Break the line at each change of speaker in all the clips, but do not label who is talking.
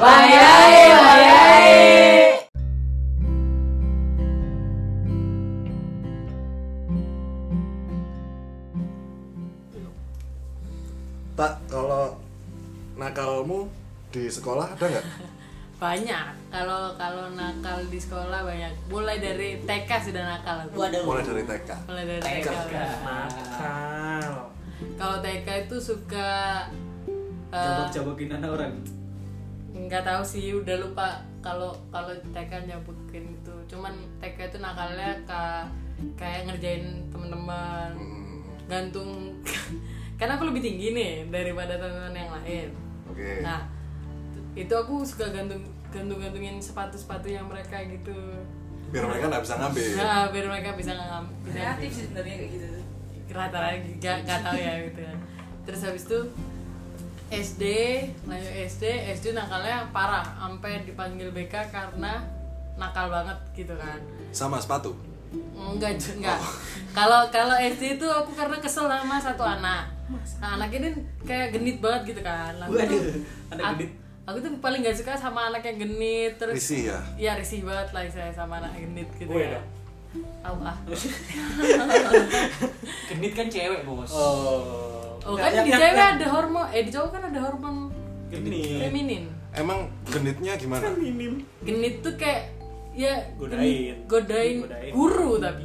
Wayahe, wayahe.
Pak, kalau nakalmu di sekolah ada nggak?
Banyak. Kalau kalau nakal di sekolah banyak. Mulai dari TK sudah nakal. aku.
Waduh.
Mulai dari TK.
Mulai dari TK.
Nakal.
Kalau TK itu suka eh,
Jawab-jawakin anak orang.
nggak tahu sih udah lupa kalau kalau TK nyabutin itu cuman TK itu nakalnya ka, kayak ngerjain teman-teman
Hmm,
gantung karena aku lebih tinggi nih daripada teman-teman yang lain
Oke.
nah itu aku suka gantung gantung gantungin sepatu sepatu yang mereka gitu
Biar mereka nggak bisa ngambil.
nah biar mereka bisa ngam bisa
Kreatif sih sebenarnya kayak gitu tuh. Iya.
rata-rata gak, gak tau ya gitu kan terus habis itu SD lanjut SD SD nakalnya parah sampai dipanggil BK karena nakal banget gitu kan
Sama sepatu.
Oh, enggak Ju, enggak kalau kalau SD itu aku karena kesel sama satu anak nah anak ini kayak genit banget gitu kan Aku tuh-
Waduh, ada
aku-
genit.
aku tuh paling gak suka sama anak yang genit terus
Risih ya.
Iya risih banget lah saya sama anak genit gitu
Gue
ya.
dong.
Tahu ah.
Genit kan cewek, Bos.
Oh.
Oh kan di cewek ada hormon, eh di cowok kan ada hormon
Genit.
feminin.
Emang genitnya gimana?
Minim.
Genit tuh kayak ya
Godain.
genit- godain,
Godain.
guru tapi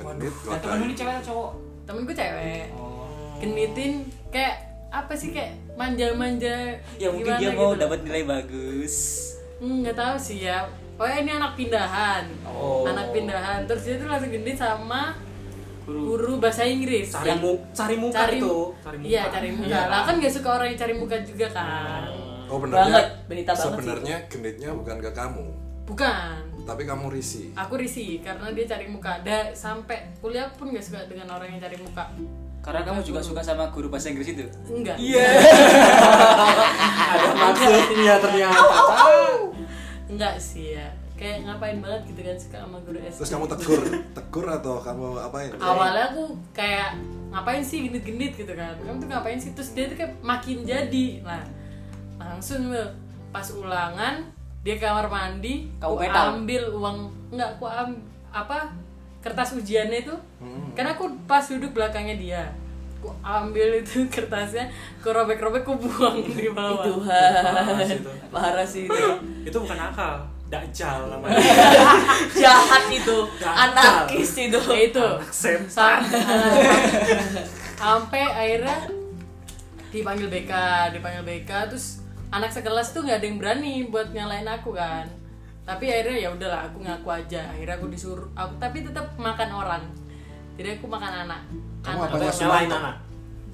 Genit
Nah,
kota.
temen ini cewek atau cowok?
temenku cewek
Oh.
genitin kayak apa sih kayak manja-manja
Ya mungkin
gimana
dia mau
gitu.
dapat nilai bagus.
Hmm, nggak tahu sih ya pokoknya ini anak pindahan
Oh.
anak pindahan terus dia tuh langsung genit sama guru, bahasa Inggris
Cari
Yang-
muka, cari muka
cari
tuh.
iya cari muka lah kan gak suka orang yang cari muka juga kan
Oh
Banget,
benernya.
berita banget sih.
Sebenarnya genitnya bukan ke kamu,
bukan
tapi kamu risih.
aku risih karena dia cari muka ada sampai kuliah pun gak suka dengan orang yang cari muka
Karena kamu juga suka sama guru bahasa Inggris itu.
enggak
Ada maksudnya ternyata.
enggak sih ya kayak ngapain banget gitu kan suka sama guru SD
Terus kamu tegur, tegur atau kamu ya? apain?
awalnya aku kayak ngapain sih genit-genit gitu kan kamu tuh ngapain sih terus dia tuh kayak makin jadi nah langsung loh pas ulangan dia ke kamar mandi
Kamu
aku
petal?
ambil uang enggak aku am, apa kertas ujiannya itu
Hmm.
karena aku pas duduk belakangnya dia aku ambil itu kertasnya aku robek-robek aku buang di bawah
Parah sih itu.
Parah sih itu.
Itu bukan nakal. Dajjal namanya.
Jahat itu. Anarkis itu.
Ya itu
Anak setan.
Sam- sampai akhirnya dipanggil BK dipanggil BK terus anak sekelas tuh nggak ada yang berani buat nyalain aku kan tapi akhirnya ya udahlah aku ngaku aja akhirnya aku disuruh aku tapi tetap makan orang jadi aku makan anak
Kamu
anak
apa?
Apa, Nyalain anak.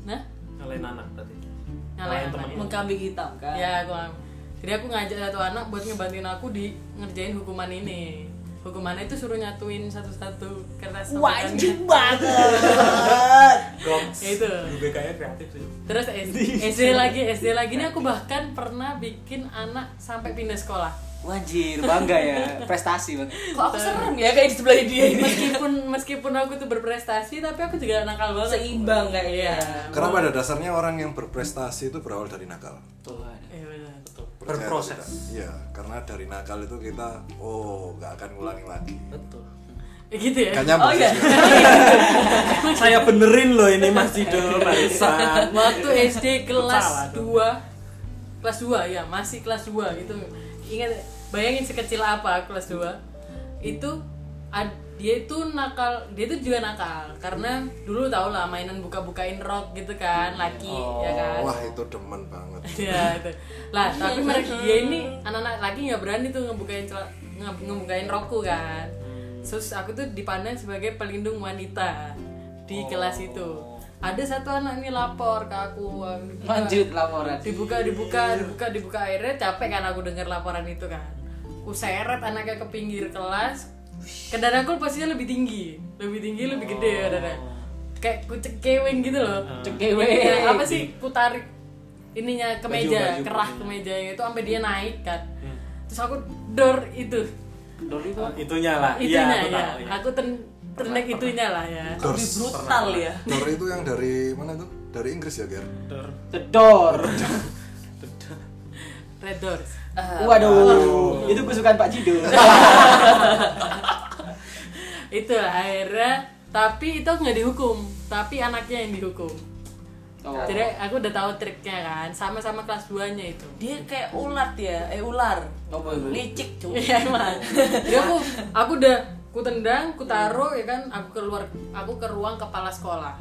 Iya.
nah
Nyalain anak berarti.
nyalain
Nyalain
anak
temen.
Mengkambing hitam kan.
ya aku ngaku. jadi aku ngajak satu anak buat ngebantuin aku di ngerjain hukuman ini hukumannya itu suruh nyatuin satu-satu kertas sama
Wah,
tangan.
anjing banget.
Goms.
Ya itu.
UBK-nya kreatif sih.
Terus SD, SD lagi, SD lagi ini aku bahkan pernah bikin anak sampai pindah sekolah.
Wajir, bangga ya. Prestasi banget.
Kok aku serem
ya kayak di sebelah dia
Meskipun meskipun aku tuh berprestasi, tapi aku juga nakal banget.
Seimbang kayaknya.
Iya.
Karena pada dasarnya orang yang berprestasi itu berawal dari nakal.
Iya, benar.
Betul.
Percaya atau
Berproses.
tidak? Iya, karena dari nakal itu kita, oh nggak akan ngulangi lagi.
Betul.
Ya Gitu ya.
Gak nyambung
Oh, iya.
sih.
Saya Iya, benerin loh ini Mas Dido barusan.
Waktu SD
Salah
kelas
dong.
2 kelas 2 ya, masih kelas 2 gitu. Ingat bayangin sekecil apa kelas 2. Itu ad- dia itu nakal, dia itu juga nakal karena dulu tau lah mainan buka-bukain rok gitu kan, laki ya kan.
Wah itu demen banget.
ya itu lah tapi mereka dia ini anak-anak lagi nggak berani tuh ngebukain cel- nge- ngebukain roku kan terus aku tuh dipandang sebagai pelindung wanita di kelas itu ada satu anak ini lapor ke aku dibuka-
Lanjut laporan.
dibuka dibuka
Iya.
dibuka dibuka akhirnya capek kan aku dengar laporan itu kan aku seret anaknya ke pinggir kelas kendaraan aku posisinya lebih tinggi lebih tinggi lebih gede
Oh.
ya dadanya. kayak ku cekewing gitu
Ah.
loh
Cekewing.
Iya, apa sih ku tarik ininya ke
Baju,
meja
baju,
kerah ke meja itu sampai dia naik kan
Hmm.
terus aku dor itu
Doli itu
Itunya lah. Iya,
itunya
aku
ya
tahu. ya.
aku ten ternek itunya lah ya
Lebih brutal ya.
Dor itu yang dari mana tuh? Dari Inggris ya, Ger?
Dor.
cedor.
Ter- Red Doors.
Waduh, itu kesukaan Pak Jido.
itu akhirnya tapi itu nggak dihukum tapi anaknya yang dihukum
Oh.
jadi aku udah tahu triknya kan sama-sama kelas 2 nya itu
Dia kayak ulat ya, eh ular.
Apa itu?
Licik cuy.
Iya emang. Jadi aku aku udah ku tendang, ku taruh ya kan, aku keluar aku ke ruang kepala sekolah.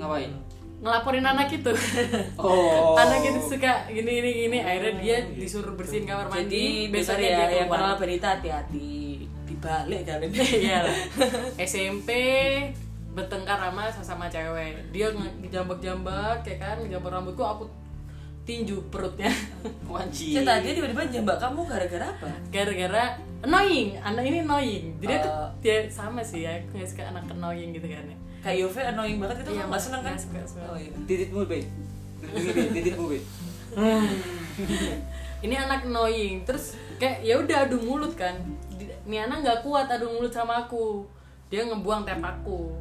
Ngapain?
Ngelaporin anak itu.
Oh.
anak itu suka gini gini gini, akhirnya dia disuruh bersihin kamar mandi,
Jadi besar
besoknya
ya,
dia
yang
keluar.
kenal berita hati-hati dibalik kali ini.
Iya lah. SMP bertengkar sama sama cewek. Dia nge- ngejambak-jambak ya kan, ngejambak rambutku aku tinju perutnya
Wajib.
Saya tadi tiba-tiba jembak kamu gara-gara apa?
gara-gara annoying anak ini annoying jadi aku
Eh.
dia sama sih ya aku nggak suka anak annoying gitu kan ya
Kayak Yove annoying banget itu
Iya,
kamu gak seneng kan?
nggak suka, suka.
Oh, iya.
Titikmu, Be. Lindungi, Be. Titikmu, Be.
ini anak annoying terus kayak ya udah adu mulut kan Di- ini anak nggak kuat adu mulut sama aku dia ngebuang tep aku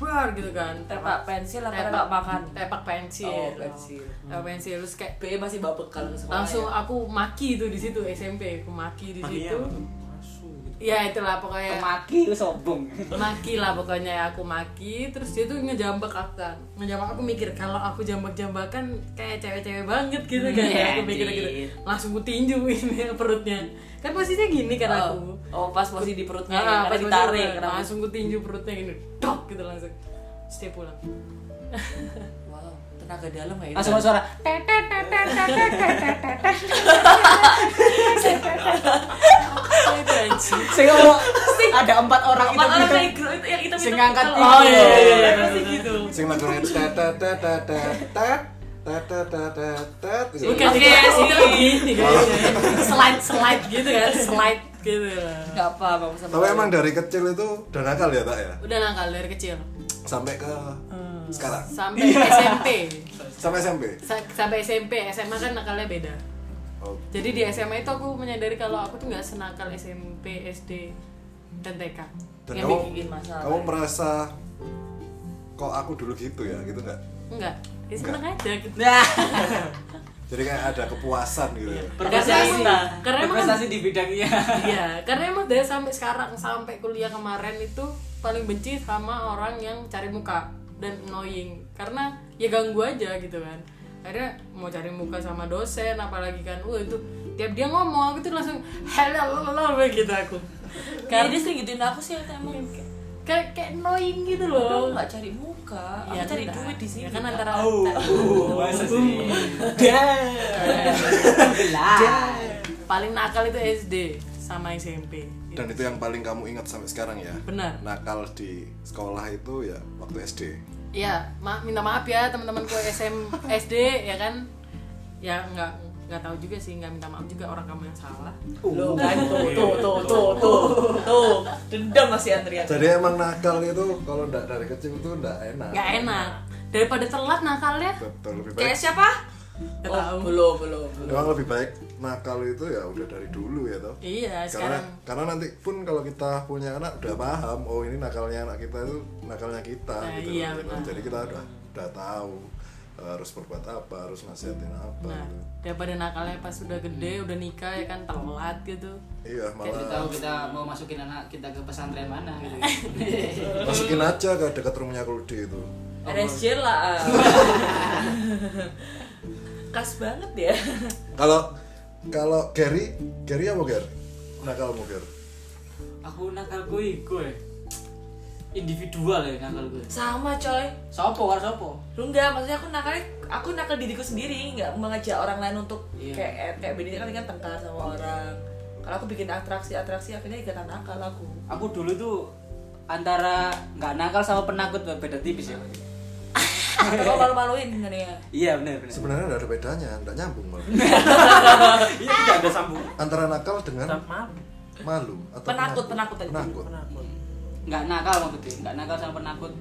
bar gitu kan
Tepak pensil apa
tepak
tepak makan?
tepak pensil
Oh, pensil.
Tepak pensil terus kayak
B masih bawa bekal ke sekolah.
langsung
ya?
aku maki itu di situ SMP aku maki di
Makanya
situ
apa tuh? Masu gitu.
ya itulah pokoknya
Maki lu sombong.
maki lah pokoknya aku maki terus dia tuh ngejambak aku kan ngejambak aku mikir kalau aku jambak jambakan kayak cewek-cewek banget gitu kan
Iya,
aku mikir gitu
anjir.
langsung ku tinju ini perutnya kan posisinya gini kan
Oh,
aku
Oh, pas posisi di perutnya
Ah,
ya, karena
pas posisi
ditarik
aku,
kenapa?
langsung ku tinju perutnya gini dok gitu langsung Terus dia pulang
Wow, tenaga dalam ya.
Langsung ada suara.
Apa Nah, itu anjing
Saya ngomong ada empat orang itu
Empat orang
gitu.
kayak gro- itu yang hitam
Sing ngangkat
itu.
Oh,
Kan
iya, iya, iya, iya,
Pasti gitu.
Sing lagu tet tet tet tet tet tet tet tet tet tet gitu.
bukan
Oke,
kayak
sini.
itu gini kayaknya slide slide gitu kan slide gitu lah.
Enggak apa, Bang sama.
Tapi emang dari kecil itu udah nakal ya tak ya?
udah nakal dari kecil
Sampai ke
Hmm.
sekarang?
sampai SMP
Sampai SMP?
Sa- sampai SMP SMA kan nakalnya beda
Oh,
jadi di SMA itu aku menyadari kalau aku tuh nggak senakal SMP SD dan TK
Dan
Yang
kamu,
bikin masalah.
kamu merasa kok aku dulu gitu ya gitu nggak?
enggak ya seneng aja gitu
Nah,
Jadi kayak ada kepuasan gitu
Iya.
ya.
Berprestasi.
Karena- karena emang- kan-
Berprestasi di bidangnya.
iya karena emang dari sampai sekarang sampai kuliah kemarin itu paling benci sama orang yang cari muka dan annoying karena ya ganggu aja gitu kan akhirnya mau cari muka sama dosen apalagi kan wah itu tiap dia ngomong aku tuh langsung hello gitu aku
Iya,
karena Iya,
dia sering gituin aku sih emang
kayak kayak annoying gitu
Aku
loh
nggak cari muka, aku
Iya,
cari
enggak.
duit di sini.
Ya kan antara
Uh, masa sih.
paling nakal itu SD sama SMP.
Dan itu yang paling kamu ingat sampai sekarang ya?
Benar.
Nakal di sekolah itu ya waktu SD.
Iya, ma- minta maaf ya teman-temanku SM SD ya kan. Ya nggak nggak tahu juga sih nggak minta maaf juga orang kamu yang salah.
Loh, kan tuh tuh tuh tuh tuh tuh dendam masih antrian.
Jadi emang nakal itu kalau nggak dari kecil itu nggak enak.
Nggak enak. Daripada telat nakalnya.
Betul lebih baik.
Kayak siapa?
Nggak
Oh,
tahu.
belum belum. belum.
Memang lebih baik nakal itu ya udah dari dulu ya toh. karena
Iya, sekarang
karena nanti pun kalau kita punya anak udah paham oh ini nakalnya anak kita itu nakalnya kita
Nah,
gitu
iya,
loh.
benar.
jadi kita udah udah tahu eh, harus berbuat apa harus nasihatin apa
nah
gitu.
daripada nakalnya pas sudah gede udah nikah ya kan telat gitu.
iya
Kita
malah
tahu kita mau masukin anak kita ke pesantren mana gitu.
masukin aja ke dekat rumahnya Kuldi itu
RSJ lah. ah. Khas banget ya.
kalau kalau Gary Gary apa Gary nakalmu Gary
Aku nakal gue, gue. Individual ya nakal gue.
Sama coy.
Sopo, war sopo.
Lu enggak, maksudnya aku nakalnya aku nakal diriku sendiri, nggak mengajak orang lain untuk
Iya.
kayak kayak bedanya kan kan tengkar sama orang. Kalau aku bikin atraksi-atraksi akhirnya ikatan nakal aku.
Aku dulu tuh antara nggak nakal sama penakut beda tipis ya.
Atau kau malu-maluin kan ya.
Iya benar benar.
sebenarnya nggak ada bedanya nggak nyambung malah
Ini tidak ada sambungan.
antara nakal dengan
Tetap malu.
malu atau
Penakut, penakut tadi.
penakut
Penakut.
Nggak nakal maksudnya, nggak nakal sama penakut.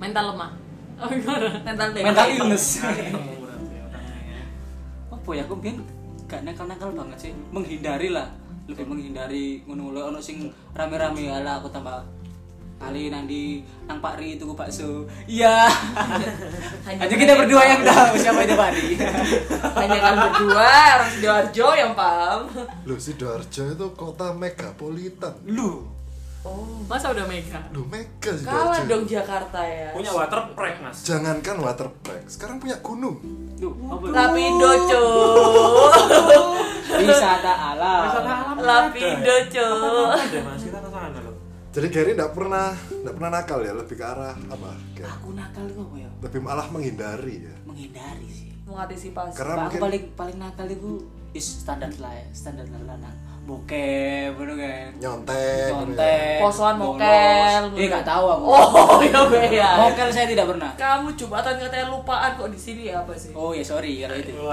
Mental lemah. Oh, gimana?
Mental deh.
Mental illness.
Emang berarti orangnya ya.
Apa ya aku mungkin nggak nakal-nakal banget sih. Menghindari lah, lebih menghindari ngono lho ono sing rame-rame ala aku tambah
kali nang di nang Pak Ri itu bakso iya
Hanya
hanya kita berdua yang
kalian-
tahu siapa itu Pak Ri
Hanya kalian berdua orang Sidoarjo yang paham.
Loh, Sidoarjo itu kota megapolitan.
lu
Oh,
masa udah mega
Loh, mega
kalah
Sidoarjo.
dong Jakarta ya.
Punya waterprek mas.
Jangankan waterpark, sekarang punya gunung.
Duh, apa itu?
Lapindo cu
wisata alam
Wisata alam.
Lapindo cu
Ada Iya, mas kita ke sana loh.
Jadi Gary nggak pernah nggak pernah nakal ya, lebih ke arah apa? Kayak
aku nakal itu apa ya
lebih malah menghindari ya.
menghindari sih
Mengantisipasi
Karena
Pak, aku
mungkin
paling paling nakal itu is standar lah ya standar lanang bokep bener kan
nyontek.
konten
Posoan mokel.
eh nggak tahu aku
Oh iya gue ya
mokel saya tidak pernah
Kamu jumatan katanya lupaan kok di sini ya apa sih?
oh ya sorry kalau itu Oh.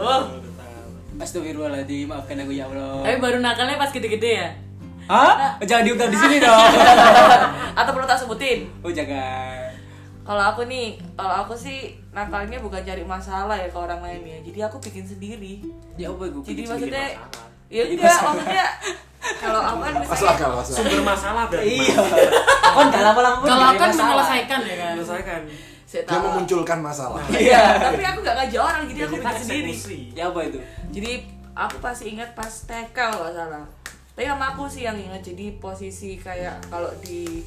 Waduh.
Astagfirullahaladzim, maafkan aku ya
tapi
Eh,
Allah.
baru nakalnya pas gede-gede ya
Hah? Eh, Jangan diungkap di sini dong.
Atau perlu tak sebutin?
Oh jangan.
Kalau aku nih, kalau aku sih nakalnya bukan cari masalah ya ke orang lain ya. Jadi aku bikin sendiri.
Ya apa gue
Jadi
bikin
maksudnya
sendiri, Mas.
ya enggak maksudnya kalau aku kan
Masuk
misalnya
akal, masuk akal.
Sumber masalah berarti.
Iya. Kon gak lama-lama pun
kalau
Oh, jadi
kan
masalah.
menyelesaikan ya kan
Selesaikan.
saya
Dia
tahu.
memunculkan masalah.
Iya, tapi aku nggak ngajak orang, jadi aku bikin sendiri.
Eksekusi.
Ya apa itu?
Jadi aku pasti ingat pas TK kalau nggak salah. Tapi sama aku sih yang ingat jadi posisi kayak kalau di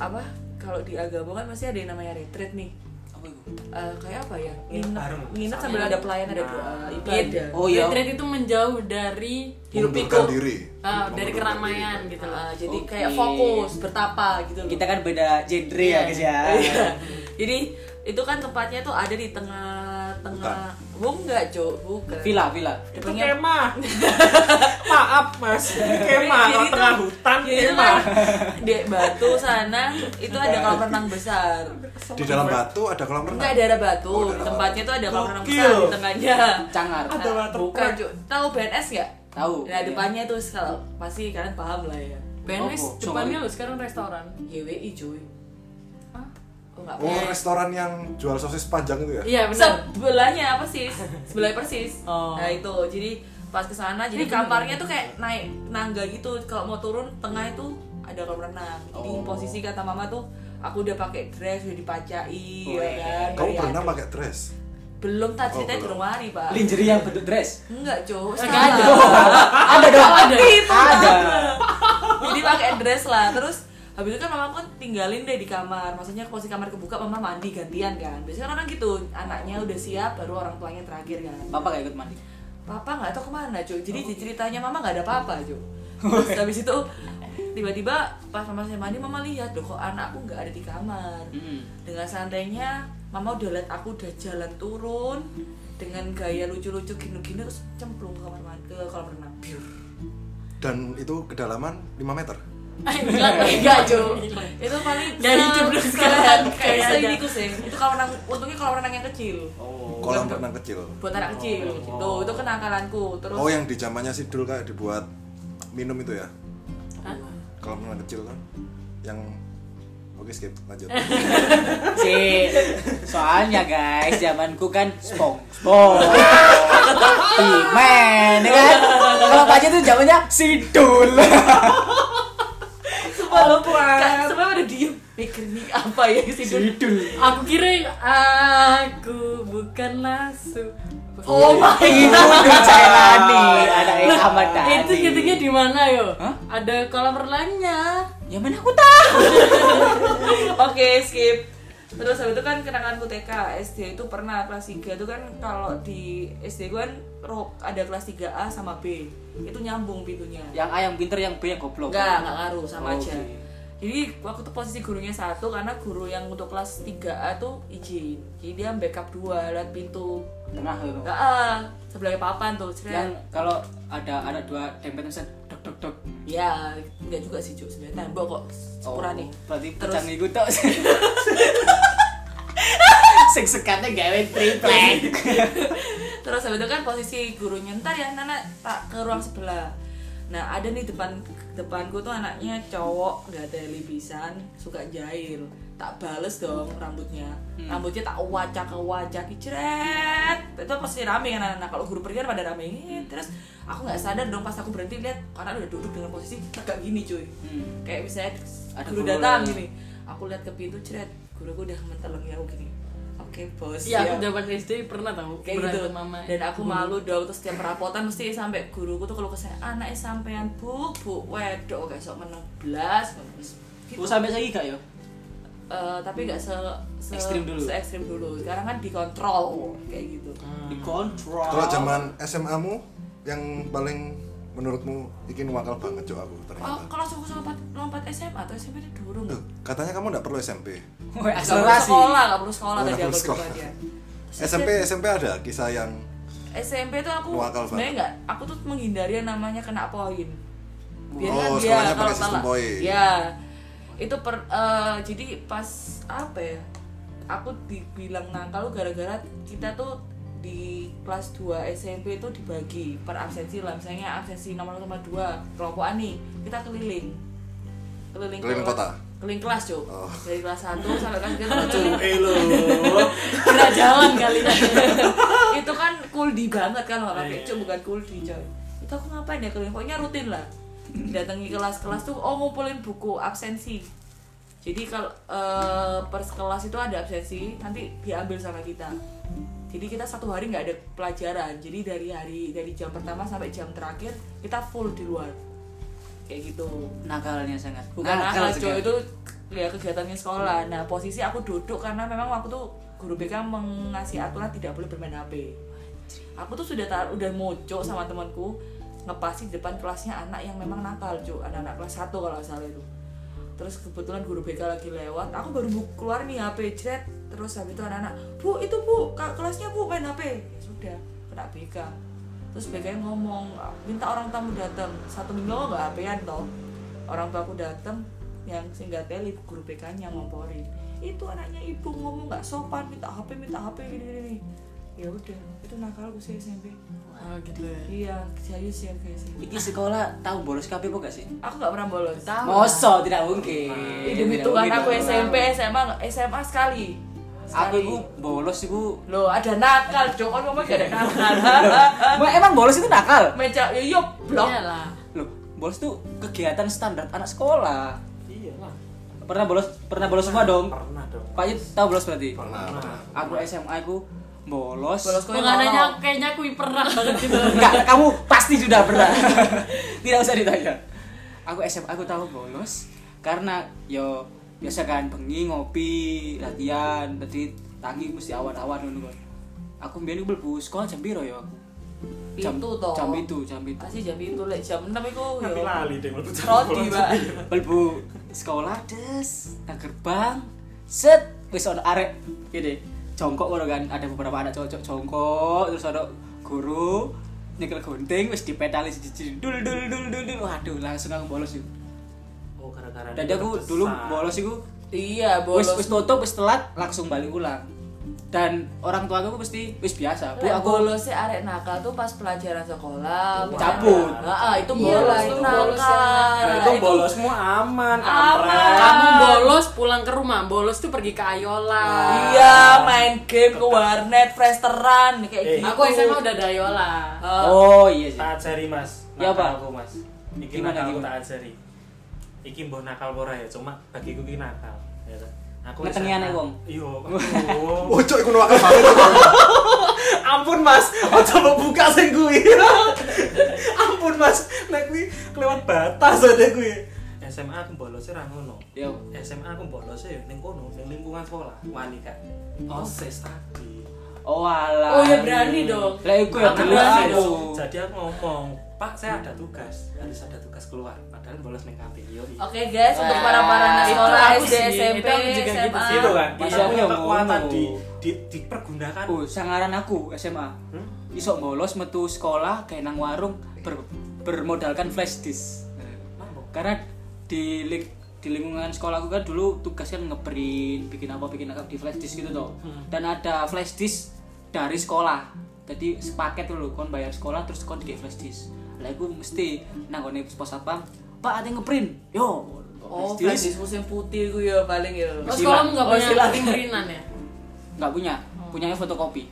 apa? Kalau di agama kan masih ada yang namanya retreat nih.
Apa itu?
Eh, kayak apa ya?
Nginep
Nginep,
bareng.
nginep sambil ada pelayan, ada doa, ibadah.
Gitu.
Oh, iya.
Retreat itu menjauh dari hirup
Mengundurkan
pikuk.
diri.
Ah, dari
Mengundurkan
keramaian gitu
Ah,
loh.
jadi
Oke.
kayak fokus, bertapa gitu loh.
Kita kan beda genre ya guys ya.
Iya. Jadi itu kan tempatnya tuh ada di tengah-tengah. Bu enggak, Cuk. Bukan.
Villa, villa.
Itu
Depannya-
kemah. Maaf mas, ini kemah
Jadi
kalau
itu-
tengah hutan
Jadi itu
kemah.
kan di batu sana itu ada kolam renang besar.
Di dalam batu ada kolam
Enggak
renang.
daerah batu, di tempatnya tuh ada kolam renang
Gokil.
besar di tengahnya.
Cangar.
Ada waterpark.
Bukan, Cuk. Tahu BNS enggak?
Tahu.
Nah, depannya tuh kalau pasti kalian paham lah ya.
BNS
Apa?
depannya
Sorry.
loh sekarang restoran.
YWI, cuy. Hah? Oh, enggak
Oh, restoran yang jual sosis panjang itu ya?
Iya benar.
sebelahnya apa sih sebelah persis
Oh.
nah itu jadi pas ke sana jadi kamarnya tuh kayak naik nangga gitu kalau mau turun tengah itu ada kolam renang jadi
Oh.
posisi kata mama tuh aku udah pakai dress udah dipacai
Oh, iya.
ya
Weh.
kan
Kamu
Dari-
berenang pakai dress?
belum tak
Oh,
ceritanya
belum.
belum mari pak
Lingerie yang bentuk dress.
enggak cowok
Enggak ada.
Ada dong. Ada. Ada.
jadi pakai dress lah terus habis itu kan mama kan tinggalin deh di kamar maksudnya posisi kamar kebuka mama mandi gantian kan biasanya kan orang gitu anaknya udah siap baru orang tuanya terakhir kan
Papa gak ikut mandi.
papa nggak tahu kemana cuy jadi di ceritanya mama nggak ada apa-apa cuy terus habis itu tiba-tiba pas mama saya mandi mama lihat loh kok anakku nggak ada di kamar
Mm.
dengan santainya mama udah lihat aku udah jalan turun dengan gaya lucu-lucu gini-gini terus cemplung ke kamar mandi ke kolam renang biur
Dan itu kedalaman 5 meter.
Hilang
enggak cuy itu paling
Nggak
se-
hidup dong
se-
sekarang.
kayak
Kayak ada.
selinikus ya itu kolam renang untungnya kolam renang yang kecil
Kolam renang kecil.
buat anak kecil gitu itu kenakalanku terus
Oh, yang di zamannya Sidul kayak dibuat minum itu ya? Kolam renang kecil kan? Yang Oke skip lanjut.
Sih, soalnya guys, zamanku kan spong, spong, pimen, ya kan? Kalau Pak Haji tuh zamannya sidul.
Semua Kak, semua pada diem mikir nih apa ya ke situ.
Sidul.
Aku kira aku bukan
Nah,
lasu.
Oh my
Itu udah Cailani, anaknya Ahmad Dhani.
Itu nyetiknya di mana yo?
Hah?
Ada kolam renangnya.
Ya mana aku tahu.
Oke, skip. Terus habis itu kan kenanganku TK, SD itu pernah kelas 3 itu kan kalau di SD gue kan ro- ada kelas 3A sama B. Itu nyambung pintunya.
Yang A yang pinter, yang B yang goblok.
Enggak, enggak ngaruh sama
Oke.
aja. Jadi waktu itu posisi gurunya satu karena guru yang untuk kelas 3A tuh izin. Jadi dia backup dua lewat pintu.
Tengah itu.
Enggak, ah, sebelah papan tuh. seret.
Yang kalau ada ada dua dempet pesan, dok dok dok.
Ya, enggak juga sih, Cuk. Sebenarnya tembok kok sepura nih.
Oh, Berarti
Terus-
terus ikut tok. Sing sekatnya gawe triplek.
Terus habis itu kan posisi gurunya ntar ya Nana tak ke ruang sebelah. nah ada nih depan depanku tuh anaknya cowok gak ada libisan suka jahil tak bales dong rambutnya rambutnya tak wacak wacak jret itu pasti rame kan anak kalau guru pergi kan pada rame "Ih," terus aku nggak sadar dong pas aku berhenti lihat anak udah duduk dengan posisi tegak gini cuy
Hmm.
kayak misalnya
Ada
guru
guru
datang
lewat.
gini aku lihat ke pintu jret guru aku udah menteleng ya aku gini oke bos
Iya, aku
ya."
zaman SD pernah tau
kayak gitu
berantem mama.
dan aku malu dong terus setiap perapotan mesti sampai guruku tuh kalau kesana anaknya sampean bu bu wedok kayak sok menang belas terus gitu.
Gue Oh, sampai lagi gak ya? yo?
Eh, tapi nggak se, se
Ekstrim dulu. Hmm.
se ekstrim dulu sekarang kan dikontrol kayak gitu
Di kontrol.
Kalau zaman SMA mu yang paling menurutmu ini wakal banget cok aku
oh,
ternyata.
kalau aku lompat lompat SMA atau SMP itu durung
Loh, katanya kamu nggak perlu SMP.
Woi,
nggak perlu
akselerasi.
sekolah nggak perlu sekolah
Oh,
tadi
nggak
aku
perlu sekolah.
depannya. Terus
SMP SMP ada kisah yang
SMP tuh aku
Wakal banget.
sebenarnya nggak aku tuh menghindari yang namanya kena poin biar
Oh,
kan dia
sekolahnya pakai
kalau
sistem
salah
poin.
ya itu per eh, jadi pas apa ya aku dibilang nakal gara-gara kita tuh di kelas 2 SMP itu dibagi per absensi lah misalnya absensi nomor nomor dua kelompokan nih kita keliling keliling,
Keliling
kelas-
kota?
keliling kelas cok
Oh.
dari kelas 1 sampai kelas 3 keliling
Elo.
Kira jalan kali.
ya. itu kan kuldi banget kan orang
Iya.
kecoh bukan kuldi coy itu aku ngapain ya keliling pokoknya rutin lah datangi kelas-kelas tuh oh ngumpulin buku absensi jadi kalau eh, per kelas itu ada absensi nanti diambil sama kita jadi kita satu hari nggak ada pelajaran jadi dari hari dari jam pertama sampai jam terakhir kita full di luar kayak gitu
Nakalnya sangat.
bukan nakal cowok
sekali.
itu ya kegiatannya sekolah nah posisi aku duduk karena memang waktu tuh guru BK mengasih aturan tidak boleh bermain HP aku tuh sudah tar- udah mojok sama temanku ngepasi depan kelasnya anak yang memang nakal cuy anak-anak kelas 1 kalau nggak salah itu terus kebetulan guru BK lagi lewat aku baru bu- keluar nih HP chat terus habis itu anak-anak bu itu bu ka- kelasnya bu main HP Ya sudah kena BK terus BK ngomong minta orang tamu datang satu minggu aku nggak HP-an toh orang tua aku datang yang sehingga teli guru BK nya ngomporin itu anaknya ibu ngomong nggak sopan minta HP minta HP gini gini, gini ya udah itu nakalku sih SMP
Oh gitu ya.
iya serius ya guys
Iki sekolah tahu bolos KP apa gak sih?
aku nggak pernah bolos
Moso tidak mungkin.
Demi
Tidak
Tuhan
mungkin
aku
dong.
SMP, SMA, SMA sekali.
Aku
Sekali.
iku bolos iku.
Loh, ada nakal, Jok. Kan ngomong gak ada nakal.
Wah, emang bolos itu nakal?
Meja ya yuk, blok.
Iyalah.
Loh, bolos tuh kegiatan standar anak sekolah.
Iya lah.
Pernah bolos, pernah bolos semua dong.
Pernah dong.
Pak Yud tahu bolos berarti.
pernah pernah.
Aku SMA aku bolos.
Bolos kok yang
Pengananya
ngolong.
kayaknya aku pernah banget gitu.
Enggak, kamu pasti sudah pernah. Tidak usah ditanya. Aku SMA aku tahu bolos karena yo biasa kan bengi ngopi latihan berarti tangi mesti awan-awan ngono kan. Aku mbiyen iku mlebu sekolah jam piro yo aku?
Pitu toh.
Jam itu, jam itu.
Pasti jam itu lek jam 6 iku ya.
Nanti lali deh mlebu jalan.
Roti, Pak.
Mlebu sekolah des, nang gerbang, set wis ono arek gini jongkok ngono kan ada beberapa anak cocok jongkok terus ada guru nyekel gunting wis dipetali siji dul dul dul dul dul waduh langsung aku bolos yuk
Oh, gara-gara.
Tadi aku dulu bolos iku
Iya,
wis
bolos.
wis tutup wis telat langsung balik ulang. Dan orang tua aku mesti wis biasa. Bu
Lek
aku
bolosnya arek nakal tuh pas pelajaran sekolah.
Cabut.
Heeh, itu
Iya,
bolos
itu
tuh
bolos yang-
nakal. Iya,
Nah, itu bolosmu aman, kampret.
Kamu bolos pulang ke rumah, bolos tuh pergi ke Ayola.
Iya, main game ke warnet, fresteran kayak
Eh.
gitu.
Aku SMA udah ada Ayola.
Oh iya sih.
Tak ajari, Mas.
Ya, Pak.
Nakal Aku, Mas. Iki
Gimana,
nakal
gimana?
tak ajari. Iki mbok nakal ora ya, cuma bagiku iki nakal. Ya ta? Aku
Ngetengi
SMA.
anak wong.
Iya.
Oh cok iku wakal banget. Cok.
Ampun Mas, ojo mbok buka sing kuwi. Ampun Mas, nek kuwi kelewat batas aja kuwi.
SMA aku bolosnya ra ngono.
Yo.
SMA aku bolosnya ya ning kono, ning lingkungan sekolah, wanita. Osis tadi.
Oh alah.
Oh, ya berani dong.
Lah iku ya
Aku
berani
bolos.
dong.
Jadi aku ngomong, Pak saya ada tugas, harus ada tugas keluar. Padahal bolos neng kantin. iya. Yoi.
Oke guys, untuk
Wah,
para-para anak
itu
sekolah
aku
SD,
sih,
SMP,
itu aku juga gitu
SMA.
sih,
Gitu kan,
Iya,
kita punya
aku yang
kekuatan
ngono.
di, di-
kan?
dipergunakan.
Oh, sangaran aku SMA.
Hmm?
Isok bolos metu sekolah kayak nang warung ber- bermodalkan flash disk.
Eh,
Mambo.
Karena di ling- di lingkungan sekolah aku kan dulu tugas kan ngeprint, bikin apa bikin apa di flash disk gitu toh.
Hmm.
Dan ada flash disk dari sekolah. Jadi sepaket dulu kon bayar sekolah terus kon di flash disk. lah iku mesti nang ngone pos satpam pak ada ngeprint yo
Oh,
Prestis.
flash musim putih gue ya paling ya.
Oh, sekolah nggak
Oh,
punya
silat.
printinan ya?
nggak punya punyanya fotokopi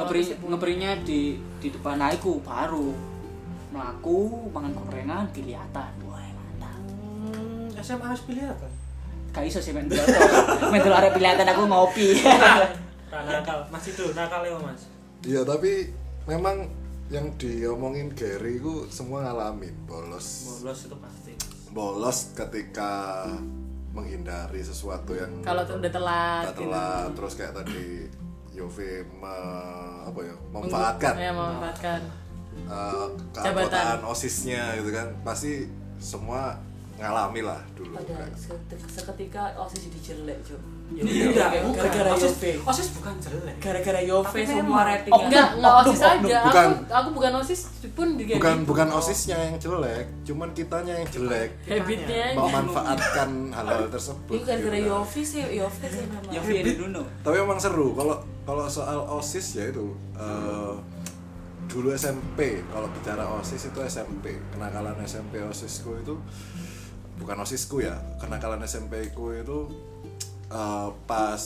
ngeprint ngeprintnya di di depan aku baru melaku pangan gorengan kelihatan wah mantap
Hmm, SMA harus pilih apa?
kayak iso sih main dulu main dulu arek kelihatan aku ngopi
Nah, nakal, mas itu nakal ya mas.
Iya tapi memang yang diomongin Gary itu semua ngalamin bolos
Bolos itu pasti.
bolos ketika menghindari sesuatu yang
Kalau tuh udah telat.
tak
gitu.
telat terus kayak tadi Yove me- apa ya memanfaatkan
Ya, memanfaatkan.
eh,
Jabatan.
keanggotaan osisnya gitu kan pasti semua ngalami lah dulu kan.
Padahal se- seketika osis jadi jelek cok.
Iya.
Gara-gara
osis,
Yove.
osis bukan jelek.
Gara-gara Yove
Tapi
semua
memang-
ratingnya.
Oh, enggak, enggak
oknum,
OSIS aja.
oknum. Bukan.
Aku aku bukan OSIS pun juga
bukan bukan osisnya yang jelek cuman kitanya yang jelek
habitnya aja.
memanfaatkan hal-hal
Ini
tersebut
gara-gara
gitu kan.
Yove sih, Yove sih memang.
ya Fi Nuno
tapi emang seru kalau kalau soal osis ya itu eh, dulu SMP kalau bicara osis itu SMP kenakalan SMP osisku itu bukan osisku ya kenakalan SMP ku itu eh, pas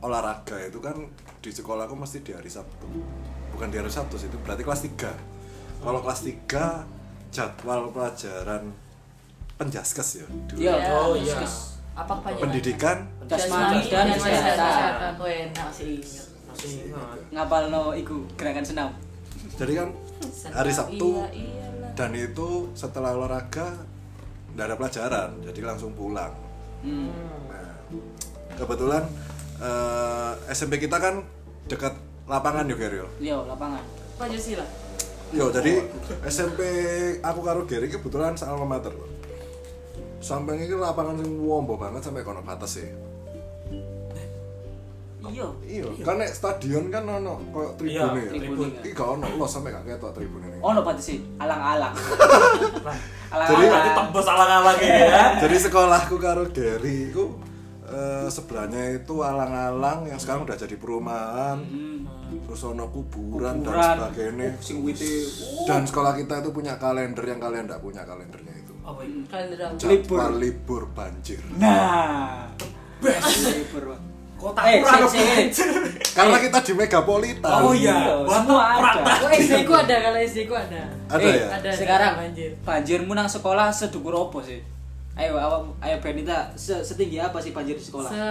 olahraga itu kan di sekolahku mesti di hari Sabtu bukan di hari Sabtu sih itu berarti kelas 3 kalau kelas 3 jadwal pelajaran penjaskes ya dulu
Iya.
Oh iya.
Apa kepanjangan?
pendidikan
Jasmani
dan
dan
kesehatan.
kesehatan
Aku enak sih ingat.
Masih ingat.
ngapal no iku gerakan senam
jadi kan hari Sabtu
Iya, iyalah.
dan itu setelah olahraga tidak ada pelajaran jadi langsung pulang
Hmm.
nah, kebetulan eh, SMP kita kan dekat lapangan yo Gerio
yo Iya, lapangan
Pancasila.
yo jadi SMP aku karo Gary kebetulan sama mater loh sampai ini lapangan sing wombo banget sampai kono batas sih
iya
iya kan nek stadion kan ono koyo
Iya,
tribune ya
tribune.
iki gak ono lo sampai gak ketok tribune ini
ono pati sih alang-alang
Ah,
Jadi
alang-alang
Nanti tembus alang-alang ya.
Jadi sekolahku karo Gary itu eh, sebelahnya itu alang-alang yang sekarang udah jadi perumahan. Terus ono kuburan, dan
Kuburan.
sebagainya.
Oh, sing wite.
Dan sekolah kita itu punya kalender yang kalian tidak punya kalendernya itu.
Apa itu?
Kalender aku.
Jadwal libur banjir.
nah best libur
Kota
eh
kurang
sing sing
Karena kita di megapolitan.
Oh iya,
Iya,
Wah,
semua
perang
ada.
tadi.
Oh, SD ku ada, kalau SD ku ada.
Ada
Eh,
ya?
Ada
sekarang
banjir.
banjirmu nang sekolah sedukur apa sih ayo awak ayo Benita se- setinggi apa sih banjir di sekolah
Se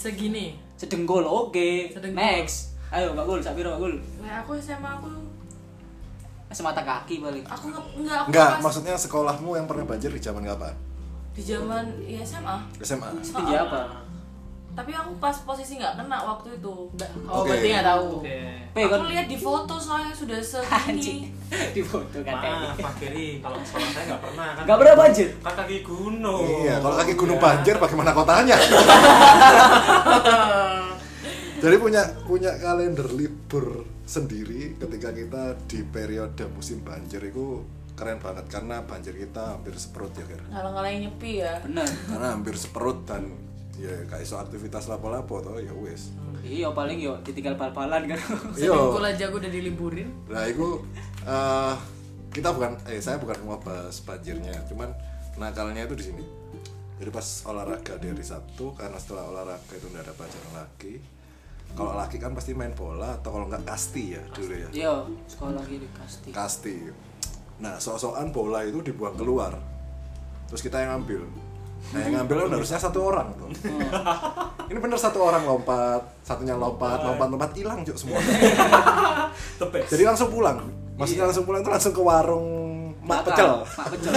segini.
sedenggol oke
Sedenggol.
next ayo mbak gul sapiro mbak gul
Nah, aku SMA aku
semata kaki paling
aku nge- enggak aku
Enggak,
pas
maksudnya sekolahmu yang pernah banjir di zaman kapan?
di zaman ya, SMA.
SMA.
setinggi
Ah.
apa
Tapi aku pas posisi nggak kena waktu itu.
Oh,
Oke.
berarti nggak tahu.
Oke.
Pe,
aku
kon-
lihat di foto soalnya sudah segini.
di foto kan
Maaf, Pak Giri, kalau sekolah saya nggak pernah kan.
nggak pernah banjir
Kan kaki gunung.
Iya, kalau kaki gunung
Iya.
banjir bagaimana kotanya? Jadi punya punya kalender libur sendiri ketika kita di periode musim banjir itu keren banget karena banjir kita hampir seperut ya Ger.
Ngalang-ngalang nyepi ya.
bener
Karena hampir seperut dan ya kayak iso aktivitas lapo-lapo toh ya wis. Iya.
iya paling yo ditinggal bal-balan kan
Sedengkul aja aku udah diliburin.
Nah, itu eh, kita bukan eh saya bukan mau bahas banjirnya, cuman nakalnya itu di sini. Jadi pas olahraga di hari Sabtu karena setelah olahraga itu nggak ada pelajaran lagi. Kalau laki kan pasti main bola atau kalau nggak kasti ya dulu ya.
yo sekolah gini pasti
Kasti. Nah, sok-sokan bola itu dibuang keluar. Terus kita yang ngambil. Nah, yang ngambil kan harusnya satu orang tuh. Ini bener satu orang lompat, satunya lompat, lompat-lompat hilang juk semua.
The best.
Jadi langsung pulang. Maksudnya langsung pulang itu langsung ke warung Mak Pecel.
mak pecel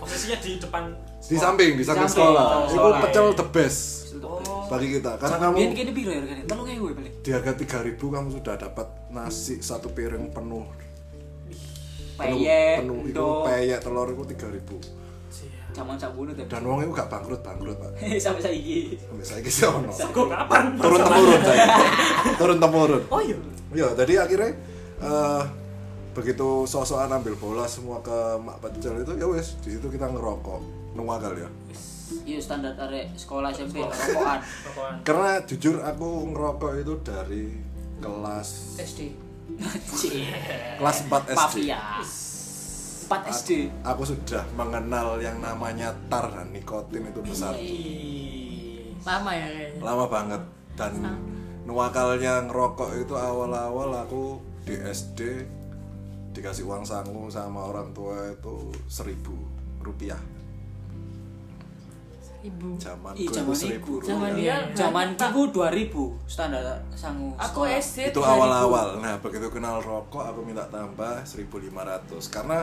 Posisinya di depan.
Di samping, di samping
Samping,
sekolah. Iya.
samping
Itu
sekolah.
pecel the best
oh
bagi kita. Karena kamu
Biar kini biru ya kan? Tolong ya gue paling
di harga 3000 kamu sudah dapat nasi satu piring penuh. Penuh,
Peyek,
penuh itu
endok.
peyek telur itu 3000.
Jaman sak bunuh ya
Dan wong itu gak bangkrut-bangkrut, Pak.
Sampai saiki
Sampai saiki sih ono.
Kok kapan?
Turun temurun saya. Turun temurun.
Oh iya.
Ya, jadi akhirnya eh, begitu sok-sokan ambil bola semua ke Mak Pecel itu ya wes di situ kita ngerokok nunggal ya
Iya standar arek sekolah SMP rokokan.
Rokokan.
karena jujur aku ngerokok itu dari kelas
SD.
kelas 4 SD.
Mafia. 4 SD.
Aku sudah mengenal yang namanya tar dan nikotin itu besar.
Iya.
lama ya kayaknya
Lama banget dan nuakalnya ngerokok itu awal-awal aku di SD dikasih uang sangu sama orang tua itu seribu rupiah
ibu
zaman
Ih,
itu
zaman
seribu
iku.
Zaman
rupiah
dia
Zaman itu 2000 standar sangu.
Aku
sekolah.
SD
itu
2000.
awal-awal nah begitu kenal rokok aku minta tambah 1500 karena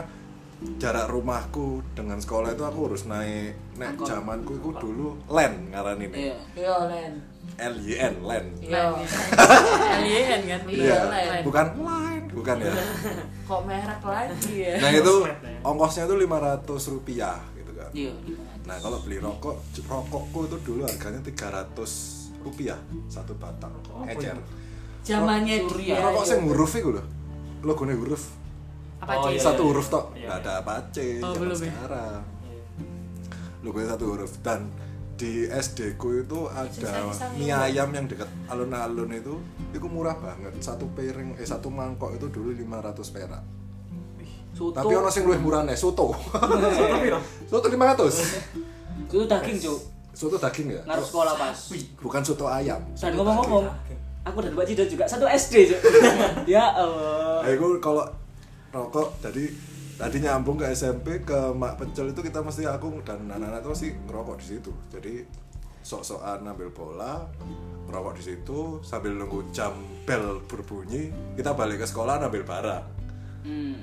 jarak rumahku dengan sekolah itu aku harus naik nek
Angkot.
zamanku itu dulu len ngaran ini
Iya.
Yo Len.
L Y N len
Yo.
alien kan
Iya, Len.
bukan line bukan ya
Kok merek lagi ya?
nah itu ongkosnya itu 500 rupiah gitu kan
Iya.
nah kalau beli rokok rokokku itu dulu harganya 300 rupiah satu batang ecer Nah,
zamannya
Iya,
dia
rokok sing huruf itu loh logone huruf
apa
Oh,
sih
iya.
satu huruf tok
Iya,
nggak
iya.
ada apa C
Oh,
zaman
belum ya?
sekarang logonya satu huruf dan di SD ku itu ada
Sisang-sisang
mie
ya.
ayam yang dekat alun-alun itu itu murah banget satu piring eh satu mangkok itu dulu 500 perak
Soto.
tapi ono sing luwih murah nih soto
Soto piro?
soto 500
Itu daging, Cuk.
soto daging ya
Ngaruh sekolah pas.
bukan soto ayam
Dan ngomong-ngomong, aku dan Mbak Cida juga satu SD, Cuk. ya Allah.
Eh, gue kalau rokok tadi tadi nyambung ke SMP ke Mak Pecel itu kita mesti aku dan anak-anak itu masih ngerokok di situ. Jadi sok-sokan ambil bola, ngerokok di situ sambil nunggu jam bel berbunyi, kita balik ke sekolah ambil bara.
Hmm.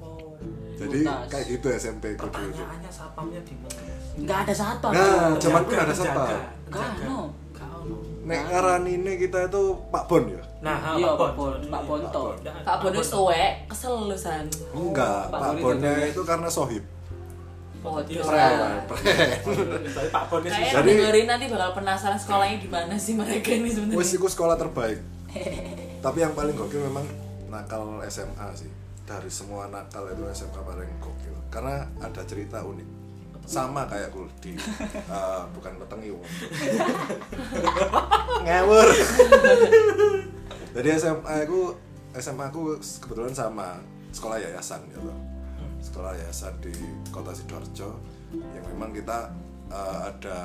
Oh, iya,
Jadi
Tuntas.
kayak gitu SMP ku dulu.
Pertanyaannya satpamnya di mana?
Enggak ada satpam.
Nah,
Cuk.
zaman ku nggak ada siapa.
Enggak no.
Gak ono.
Nek ngaranine kita itu Pak Bon ya?
Nah, ah, Pak
Iya, Pak Bon, Pak Bonto.
Pak Bodoh suwe, kesel lu san.
Enggak,
Oh, Pak
Pak
Bon itu
Bonnya
dulu.
itu karena sohib.
Bodoh.
Preman, preman.
Tapi Pak Bon ini
Kayaknya
susah.
Jadi-
dengerin nanti bakal penasaran sekolahnya gimana sih mereka ini
Wes
sebenarnya.
iku sekolah terbaik. Tapi yang paling gokil memang nakal SMA sih. Dari semua nakal itu SMA paling gokil. Karena ada cerita unik. Sama kayak gue di eh, bukan petengi wong. Ngawur. Jadi SMA aku SMA aku kebetulan sama sekolah yayasan gitu. Sekolah yayasan di Kota Sidoarjo yang memang kita eh, ada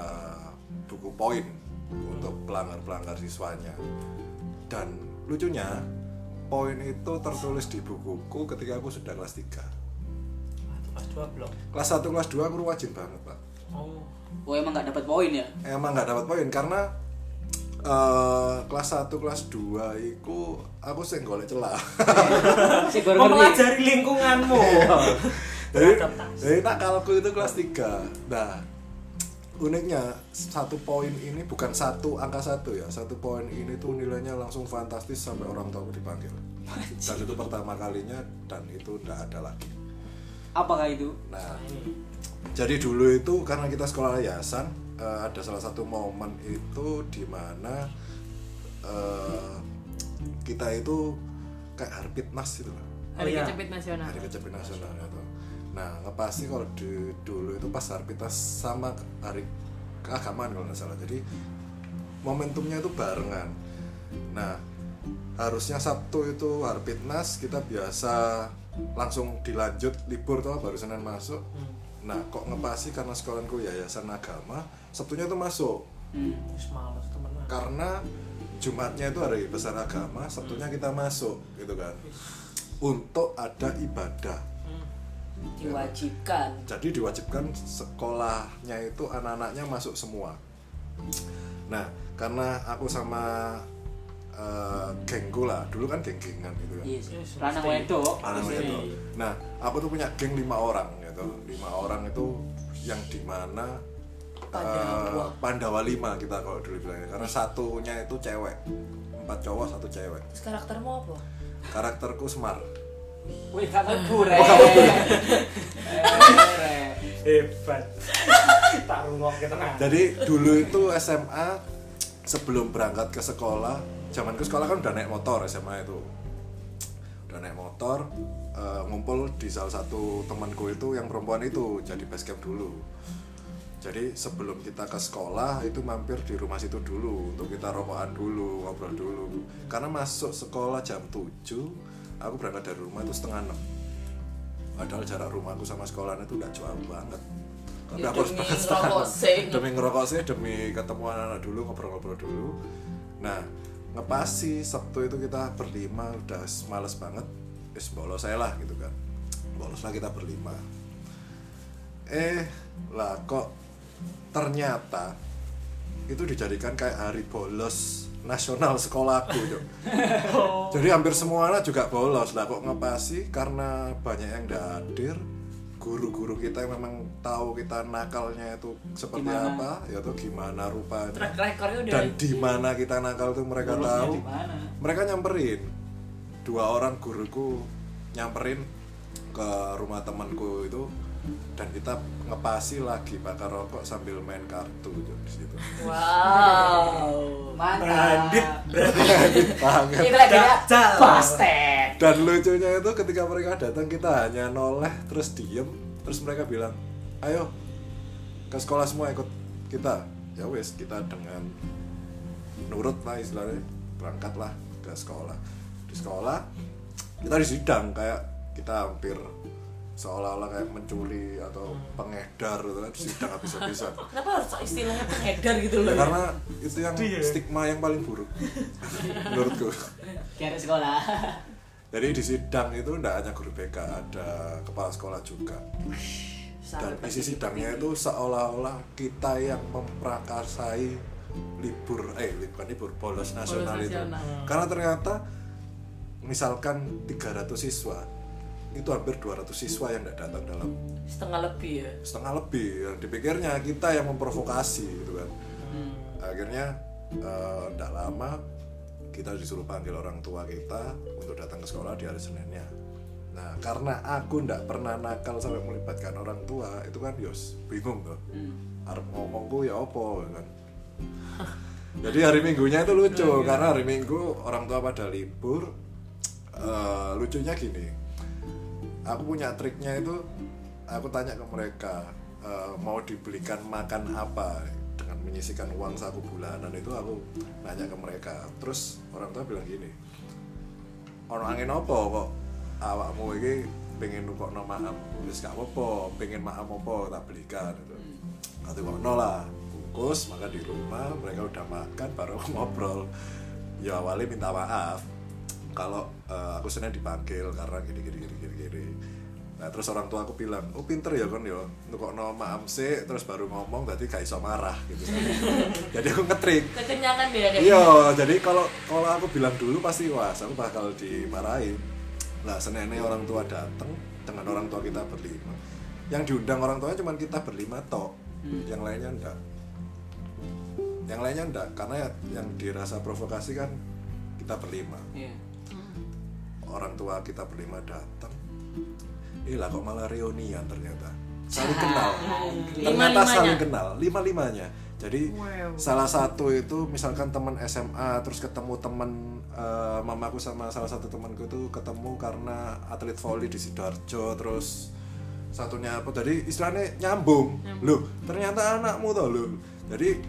buku poin untuk pelanggar-pelanggar siswanya. Dan lucunya poin itu tertulis di bukuku ketika aku sudah kelas 3.
Pas dua blok.
Kelas 1 kelas 2 aku rajin banget, Pak.
Oh.
Oh, emang enggak dapat poin ya?
emang nggak dapat poin karena eh, kelas 1 kelas 2 itu aku sing golek celah.
Si baru ngerti.
Mempelajari lingkunganmu.
Iya.
jadi, jadi nakalku itu kelas 3. Nah, uniknya satu poin ini bukan satu angka satu ya. Satu poin ini tuh nilainya langsung fantastis sampai orang tua aku dipanggil. Dan itu pertama kalinya dan itu nggak ada lagi.
Apakah itu?
Nah, jadi dulu itu karena kita sekolah yayasan eh, ada salah satu momen itu di mana eh, kita itu kayak harpitnas gitu loh.
hari
Iya.
kecepit nasional
Hari kecepit nasional itu. Nah, ngepasti kalau di, dulu itu pas harpitnas sama hari keagamaan kalau nggak salah. Jadi momentumnya itu barengan. Nah, harusnya Sabtu itu Harpitnas kita biasa langsung dilanjut libur tuh baru Senin masuk. Nah, kok ngepasi karena sekolahanku yayasan agama, Sabtunya itu masuk
Hmm.
Terus males temenan.
karena Jumatnya itu hari besar agama, Sabtunya kita masuk gitu kan. Untuk ada ibadah.
Diwajibkan.
Jadi diwajibkan sekolahnya itu anak-anaknya masuk semua. Nah, karena aku sama eh, gengku lah, dulu kan geng-gengan gitu kan.
Yes.
Yes,
Lanang
mesti.
wedok.
Anak
Terus
saya
ini.
tuh. Nah, aku tuh punya geng lima orang gitu. Lima orang itu yang dimana
Pandawa.
Pandawa lima kita kalau dulu bilangnya karena satunya itu cewek empat cowok satu cewek
Terus karaktermu apa?
karakterku semar
Wih, gak mlebu, Rek.
Oh,
Hebat. Tak rungok ke tengah.
jadi dulu itu SMA sebelum berangkat ke sekolah zamanku sekolah kan udah naik motor SMA itu udah naik motor eh, ngumpul di salah satu temanku itu yang perempuan itu jadi basecamp dulu jadi sebelum kita ke sekolah itu mampir di rumah situ dulu untuk kita rokokan dulu ngobrol dulu karena masuk sekolah jam 7 aku berangkat dari rumah itu setengah 6 padahal jarak rumahku sama sekolahnya itu udah jauh banget Tapi
Ya,
aku harus
demi
berangkat setengah
ngerokok
enam.
sih.
demi ngerokok sih demi ketemu anak-anak dulu ngobrol-ngobrol dulu nah ngepasi Sabtu itu kita berlima udah males banget is bolos saya lah gitu kan bolos lah kita berlima eh lah kok ternyata itu dijadikan kayak hari bolos nasional sekolahku Cok. jadi hampir semua anak juga bolos lah kok ngepasi karena banyak yang nggak hadir guru-guru kita yang memang tahu kita nakalnya itu seperti
Gimana?
apa ya tuh gimana rupanya
track recordnya udah
dan di mana kita nakal tuh mereka
Bolosnya
tahu
di mana?
mereka nyamperin dua orang guruku nyamperin ke rumah temanku itu dan kita ngepasi lagi bakar rokok sambil main kartu Jok, di situ
wow
Mantap.
Bandit, bandit,
Banget.
ini lagi ya
dajal.
dan lucunya itu ketika mereka datang kita hanya noleh terus diem terus mereka bilang ayo ke sekolah semua ikut kita ya wes kita dengan nurut lah istilahnya berangkatlah ke sekolah di sekolah kita disidang kayak kita hampir seolah-olah kayak mencuri atau pengedar gitu kan disidang habis-habisan
Kenapa harus istilahnya pengedar gitu
Ya,
loh?
karena itu yang
Sedih ya.
stigma yang paling buruk menurutku
Kayak sekolah.
Jadi di sidang itu tidak hanya guru BK, ada kepala sekolah juga. Dan isi sidangnya itu seolah-olah kita yang memprakarsai libur, eh li- bukan libur, bolos nasional itu.
nasional.
Karena ternyata misalkan 300 siswa, itu hampir 200 siswa yang tidak datang dalam
setengah lebih ya
setengah lebih. Yang dipikirnya kita yang memprovokasi gitu kan. Akhirnya tidak lama kita disuruh panggil orang tua kita untuk datang ke sekolah di hari Seninnya. Nah, karena aku ndak pernah nakal sampai melibatkan orang tua, itu kan yos bingung tuh. Arep ngomongku ya opo ya kan. Jadi hari Minggunya itu lucu karena hari Minggu orang tua pada libur. Eh, lucunya gini, aku punya triknya itu aku tanya ke mereka eh, mau dibelikan makan apa dengan menyisikan uang satu bulanan itu aku nanya ke mereka terus orang tua bilang gini ono angin apa kok awakmu iki pengen nukokno maham wis gak apa-apa pengen maham apa tak belikan gitu. Nanti kono lah bungkus makan di rumah mereka udah makan baru aku ngobrol ya awalnya minta maaf kalau eh, aku senin dipanggil karena gini gini gini gini gini nah terus orang tua aku bilang oh pinter ya kon yo nukokno maham sih terus baru ngomong tadi gak iso marah gitu jadi aku ngetrik
Kekenyangan dia kayak
Iya, jadi kalau kalau aku bilang dulu pasti wah, aku bakal dimarahin. Lah senene orang tua datang dengan orang tua kita berlima. Yang diundang orang tuanya cuma kita berlima tok. Yang lainnya enggak. Yang lainnya enggak karena ya- yang dirasa provokasi kan kita berlima.
Iya.
Orang tua kita berlima datang. Ih lah kok malah reunian ternyata. Saling kenal. Ternyata
Lima-limanya.
saling kenal. Lima-limanya. Jadi salah satu itu misalkan teman SMA terus ketemu teman eh, mamaku sama salah satu temanku itu ketemu karena atlet volley di sidoarjo terus satunya apa jadi istilahnya nyambung, loh ternyata anakmu tuh loh jadi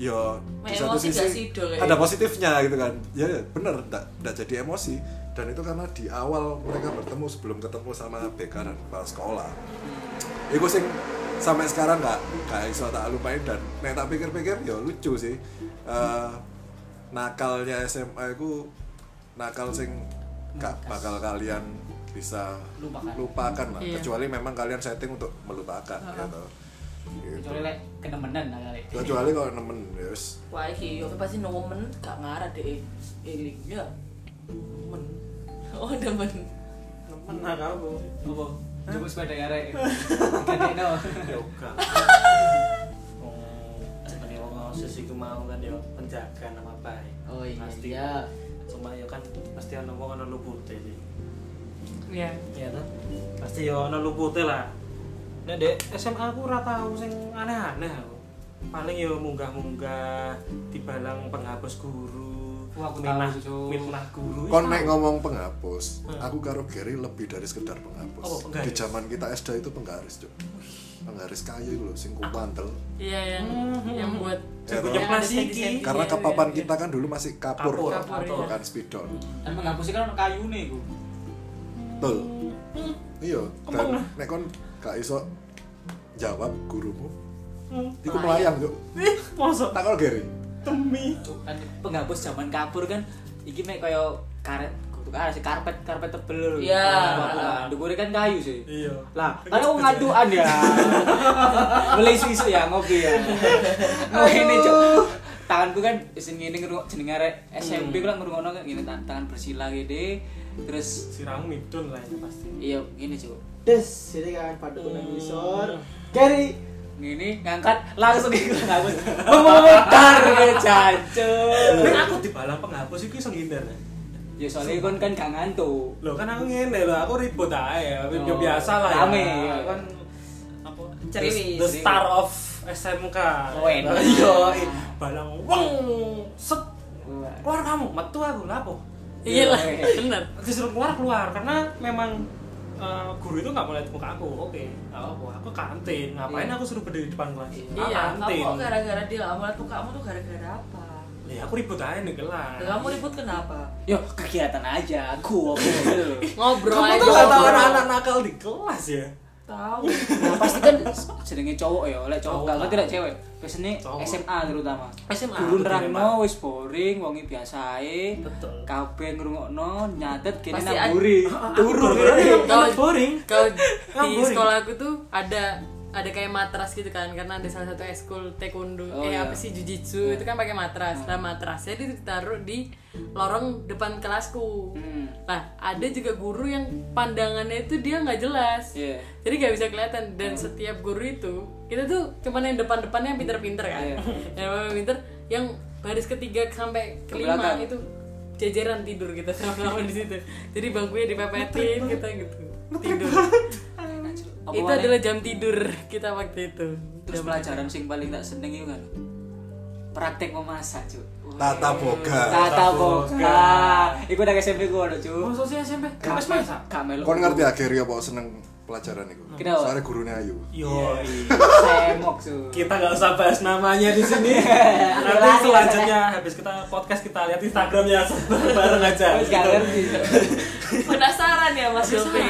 ya di
Emosi
satu
nggak sih,
sisi
Dol, ya?
ada positifnya gitu kan ya ya, bener nggak nggak jadi emosi dan itu karena di awal mereka bertemu sebelum ketemu sama BK dan kepala sekolah
Hmm.
Iku sing sampai sekarang nggak nggak iso tak lupain dan nek tak pikir-pikir ya lucu sih. Eh, nakalnya SMA aku nakal sing gak bakal kalian bisa
Lupakan.
lah
Iya.
kecuali memang kalian setting untuk melupakan gitu. Gitu.
Kecuali lek kenemenan lah kali.
Kecuali kalau nemen ya yes.
Wah, iki yo pasti nomen gak ngarah deh. Eling ya. Nomen. Oh, nemen.
Nemen lah kamu.
Apa? Coba sepeda ya, arek. Kadek no.
Ya enggak. Oh, sebagai wong osis iku mau kan ya penjaga nama baik.
Oh iya.
Pasti.
iya.
Cuma ya kan pasti ana wong ana lupute sih.
ya
Iya toh? Pasti ya ana lupute lah. Nek dek SMA aku ora tau sing aneh-aneh aku. Paling ya munggah-munggah dibalang penghapus guru.
Wah, aku
minah,
tahu, Cuk.
minah guru.
Kon nek ngomong penghapus,
Hmm.
aku karo Gary lebih dari sekedar penghapus.
Oh,
Apa, penggaris?
Di zaman kita SD itu penggaris, Cuk. penggaris kayu itu loh sing ku mantel
Iya yang yang buat
Yang
yang
punya
ada
plastik
senti-senti.
ini.
karena
Iya,
kepapan
iya,
kita kan dulu masih kapur,
Kapur,
kapur,
atau
iya.
kan speedon
Dan menghapusnya kan kayu nih gue.
betul iya dan nek kon gak iso jawab gurumu
Hmm.
iku melayang yuk
Masa
takol geri
temi
kan penghapus zaman kapur kan iki mek kaya karet kutu karet sih karpet karpet tebel
Iya.
dukure kan kayu sih
Iya
lah kan aku ngaduk anda mulai isu isu ya ngopi ya nah ini cok tanganku kan sing ngene ngerungok jenenge arek
Hmm.
SMP ku lah ngerungokno kayak ngene tangan, tangan bersila gede terus
Siramu midun lah itu pasti
iya gini cok
Des, jadi kan padu nang ngisor. Carry.
ngene ngangkat langsung iku ngapus memutar ya
Eh.
jancuk
Nek aku dibalang penghapus itu iso ngindar
ya soalnya kon kan gak ngantuk
Loh kan aku ngene loh, aku ribut aja ya
Oh,
Biasa lah ya
rame, iya.
Kan apa
Ceriwis.
The star of SMK
Wen.
Iya i. Balang weng Set Keluar kamu, metu aku lapo
Iya lah,
Iya.
benar.
disuruh keluar keluar karena memang uh, guru itu nggak boleh muka aku oke nggak apa aku kantin ngapain
Iya.
aku suruh berdiri di depan kelas Ah,
Iya,
kamu
kantin
kok gara-gara dia awal tuh kamu tuh gara-gara apa
ya aku ribut aja nih kelas
Lah, kamu ribut kenapa
yo kegiatan aja aku aku gitu.
iya. Ngobrol
kamu
aja.
tuh nggak tahu
ngobrol.
anak-anak nakal di kelas ya
tahu
nah, pasti kan jenenge cowok ya oleh cowok
Cowok.
gak ngerti lek cewek biasanya
Cowok.
SMA terutama
SMA.
guru
Aku
nerangno wis boring wongi biasae
Betul.
kabeh ngrungokno nyatet kene
Pasti
nang
ad-
buri turu
Iya.
Kalau
boring
Kalau
Yang
di
boring.
sekolah aku tuh ada ada kayak matras gitu kan karena ada salah satu eskul taekwondo
Oh,
eh
iya.
apa sih jujitsu itu kan pakai matras nah matrasnya ditaruh di lorong depan kelasku
Hmm.
nah ada juga guru yang pandangannya itu dia nggak jelas
Iya.
jadi nggak bisa kelihatan dan
Hmm.
setiap guru itu kita tuh cuman yang depan-depannya yang pinter-pinter kan
Iya.
yang paling pinter yang baris ketiga sampai kelima
belakang.
itu jajaran tidur kita sama-sama di situ jadi bangkunya dipepetin kita gitu tidur
Apa
itu
maneh?
adalah jam tidur kita waktu itu
terus pelajaran sing paling tak seneng iku kan praktek memasak cuy
tata boga
tata boga iku nang SMP ku ono cuy
masa sih SMP
Gak-
kelas masa
gak melu
kon ngerti ya geri apa seneng pelajaran itu
Kenapa?
soalnya gurunya ayu
Iya,
yo
semok cuy
kita nggak usah bahas namanya di sini nanti
Lari,
selanjutnya habis kita podcast kita lihat Instagramnya bareng aja
Wis gak
Gitu.
ngerti.
penasaran ya mas Yopi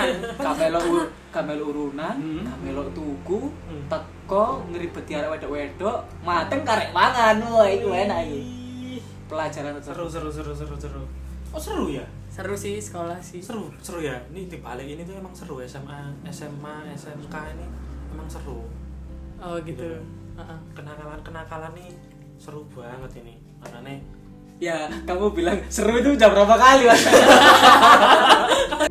Kamelo ur, kamelo urunan, kamelo tuku, teko ngeribeti arek wedok-wedok, mateng karek mangan. Wah, iku enak iki. Pelajaran
seru seru seru seru seru oh seru ya
seru sih sekolah sih
seru seru ya ini di balik ini tuh emang seru SMA SMA SMK ini emang seru
oh gitu
Iya.
Heeh.
kenakalan kenakalan nih seru banget ini mana nih
Ya, kamu bilang seru itu udah berapa kali, Mas?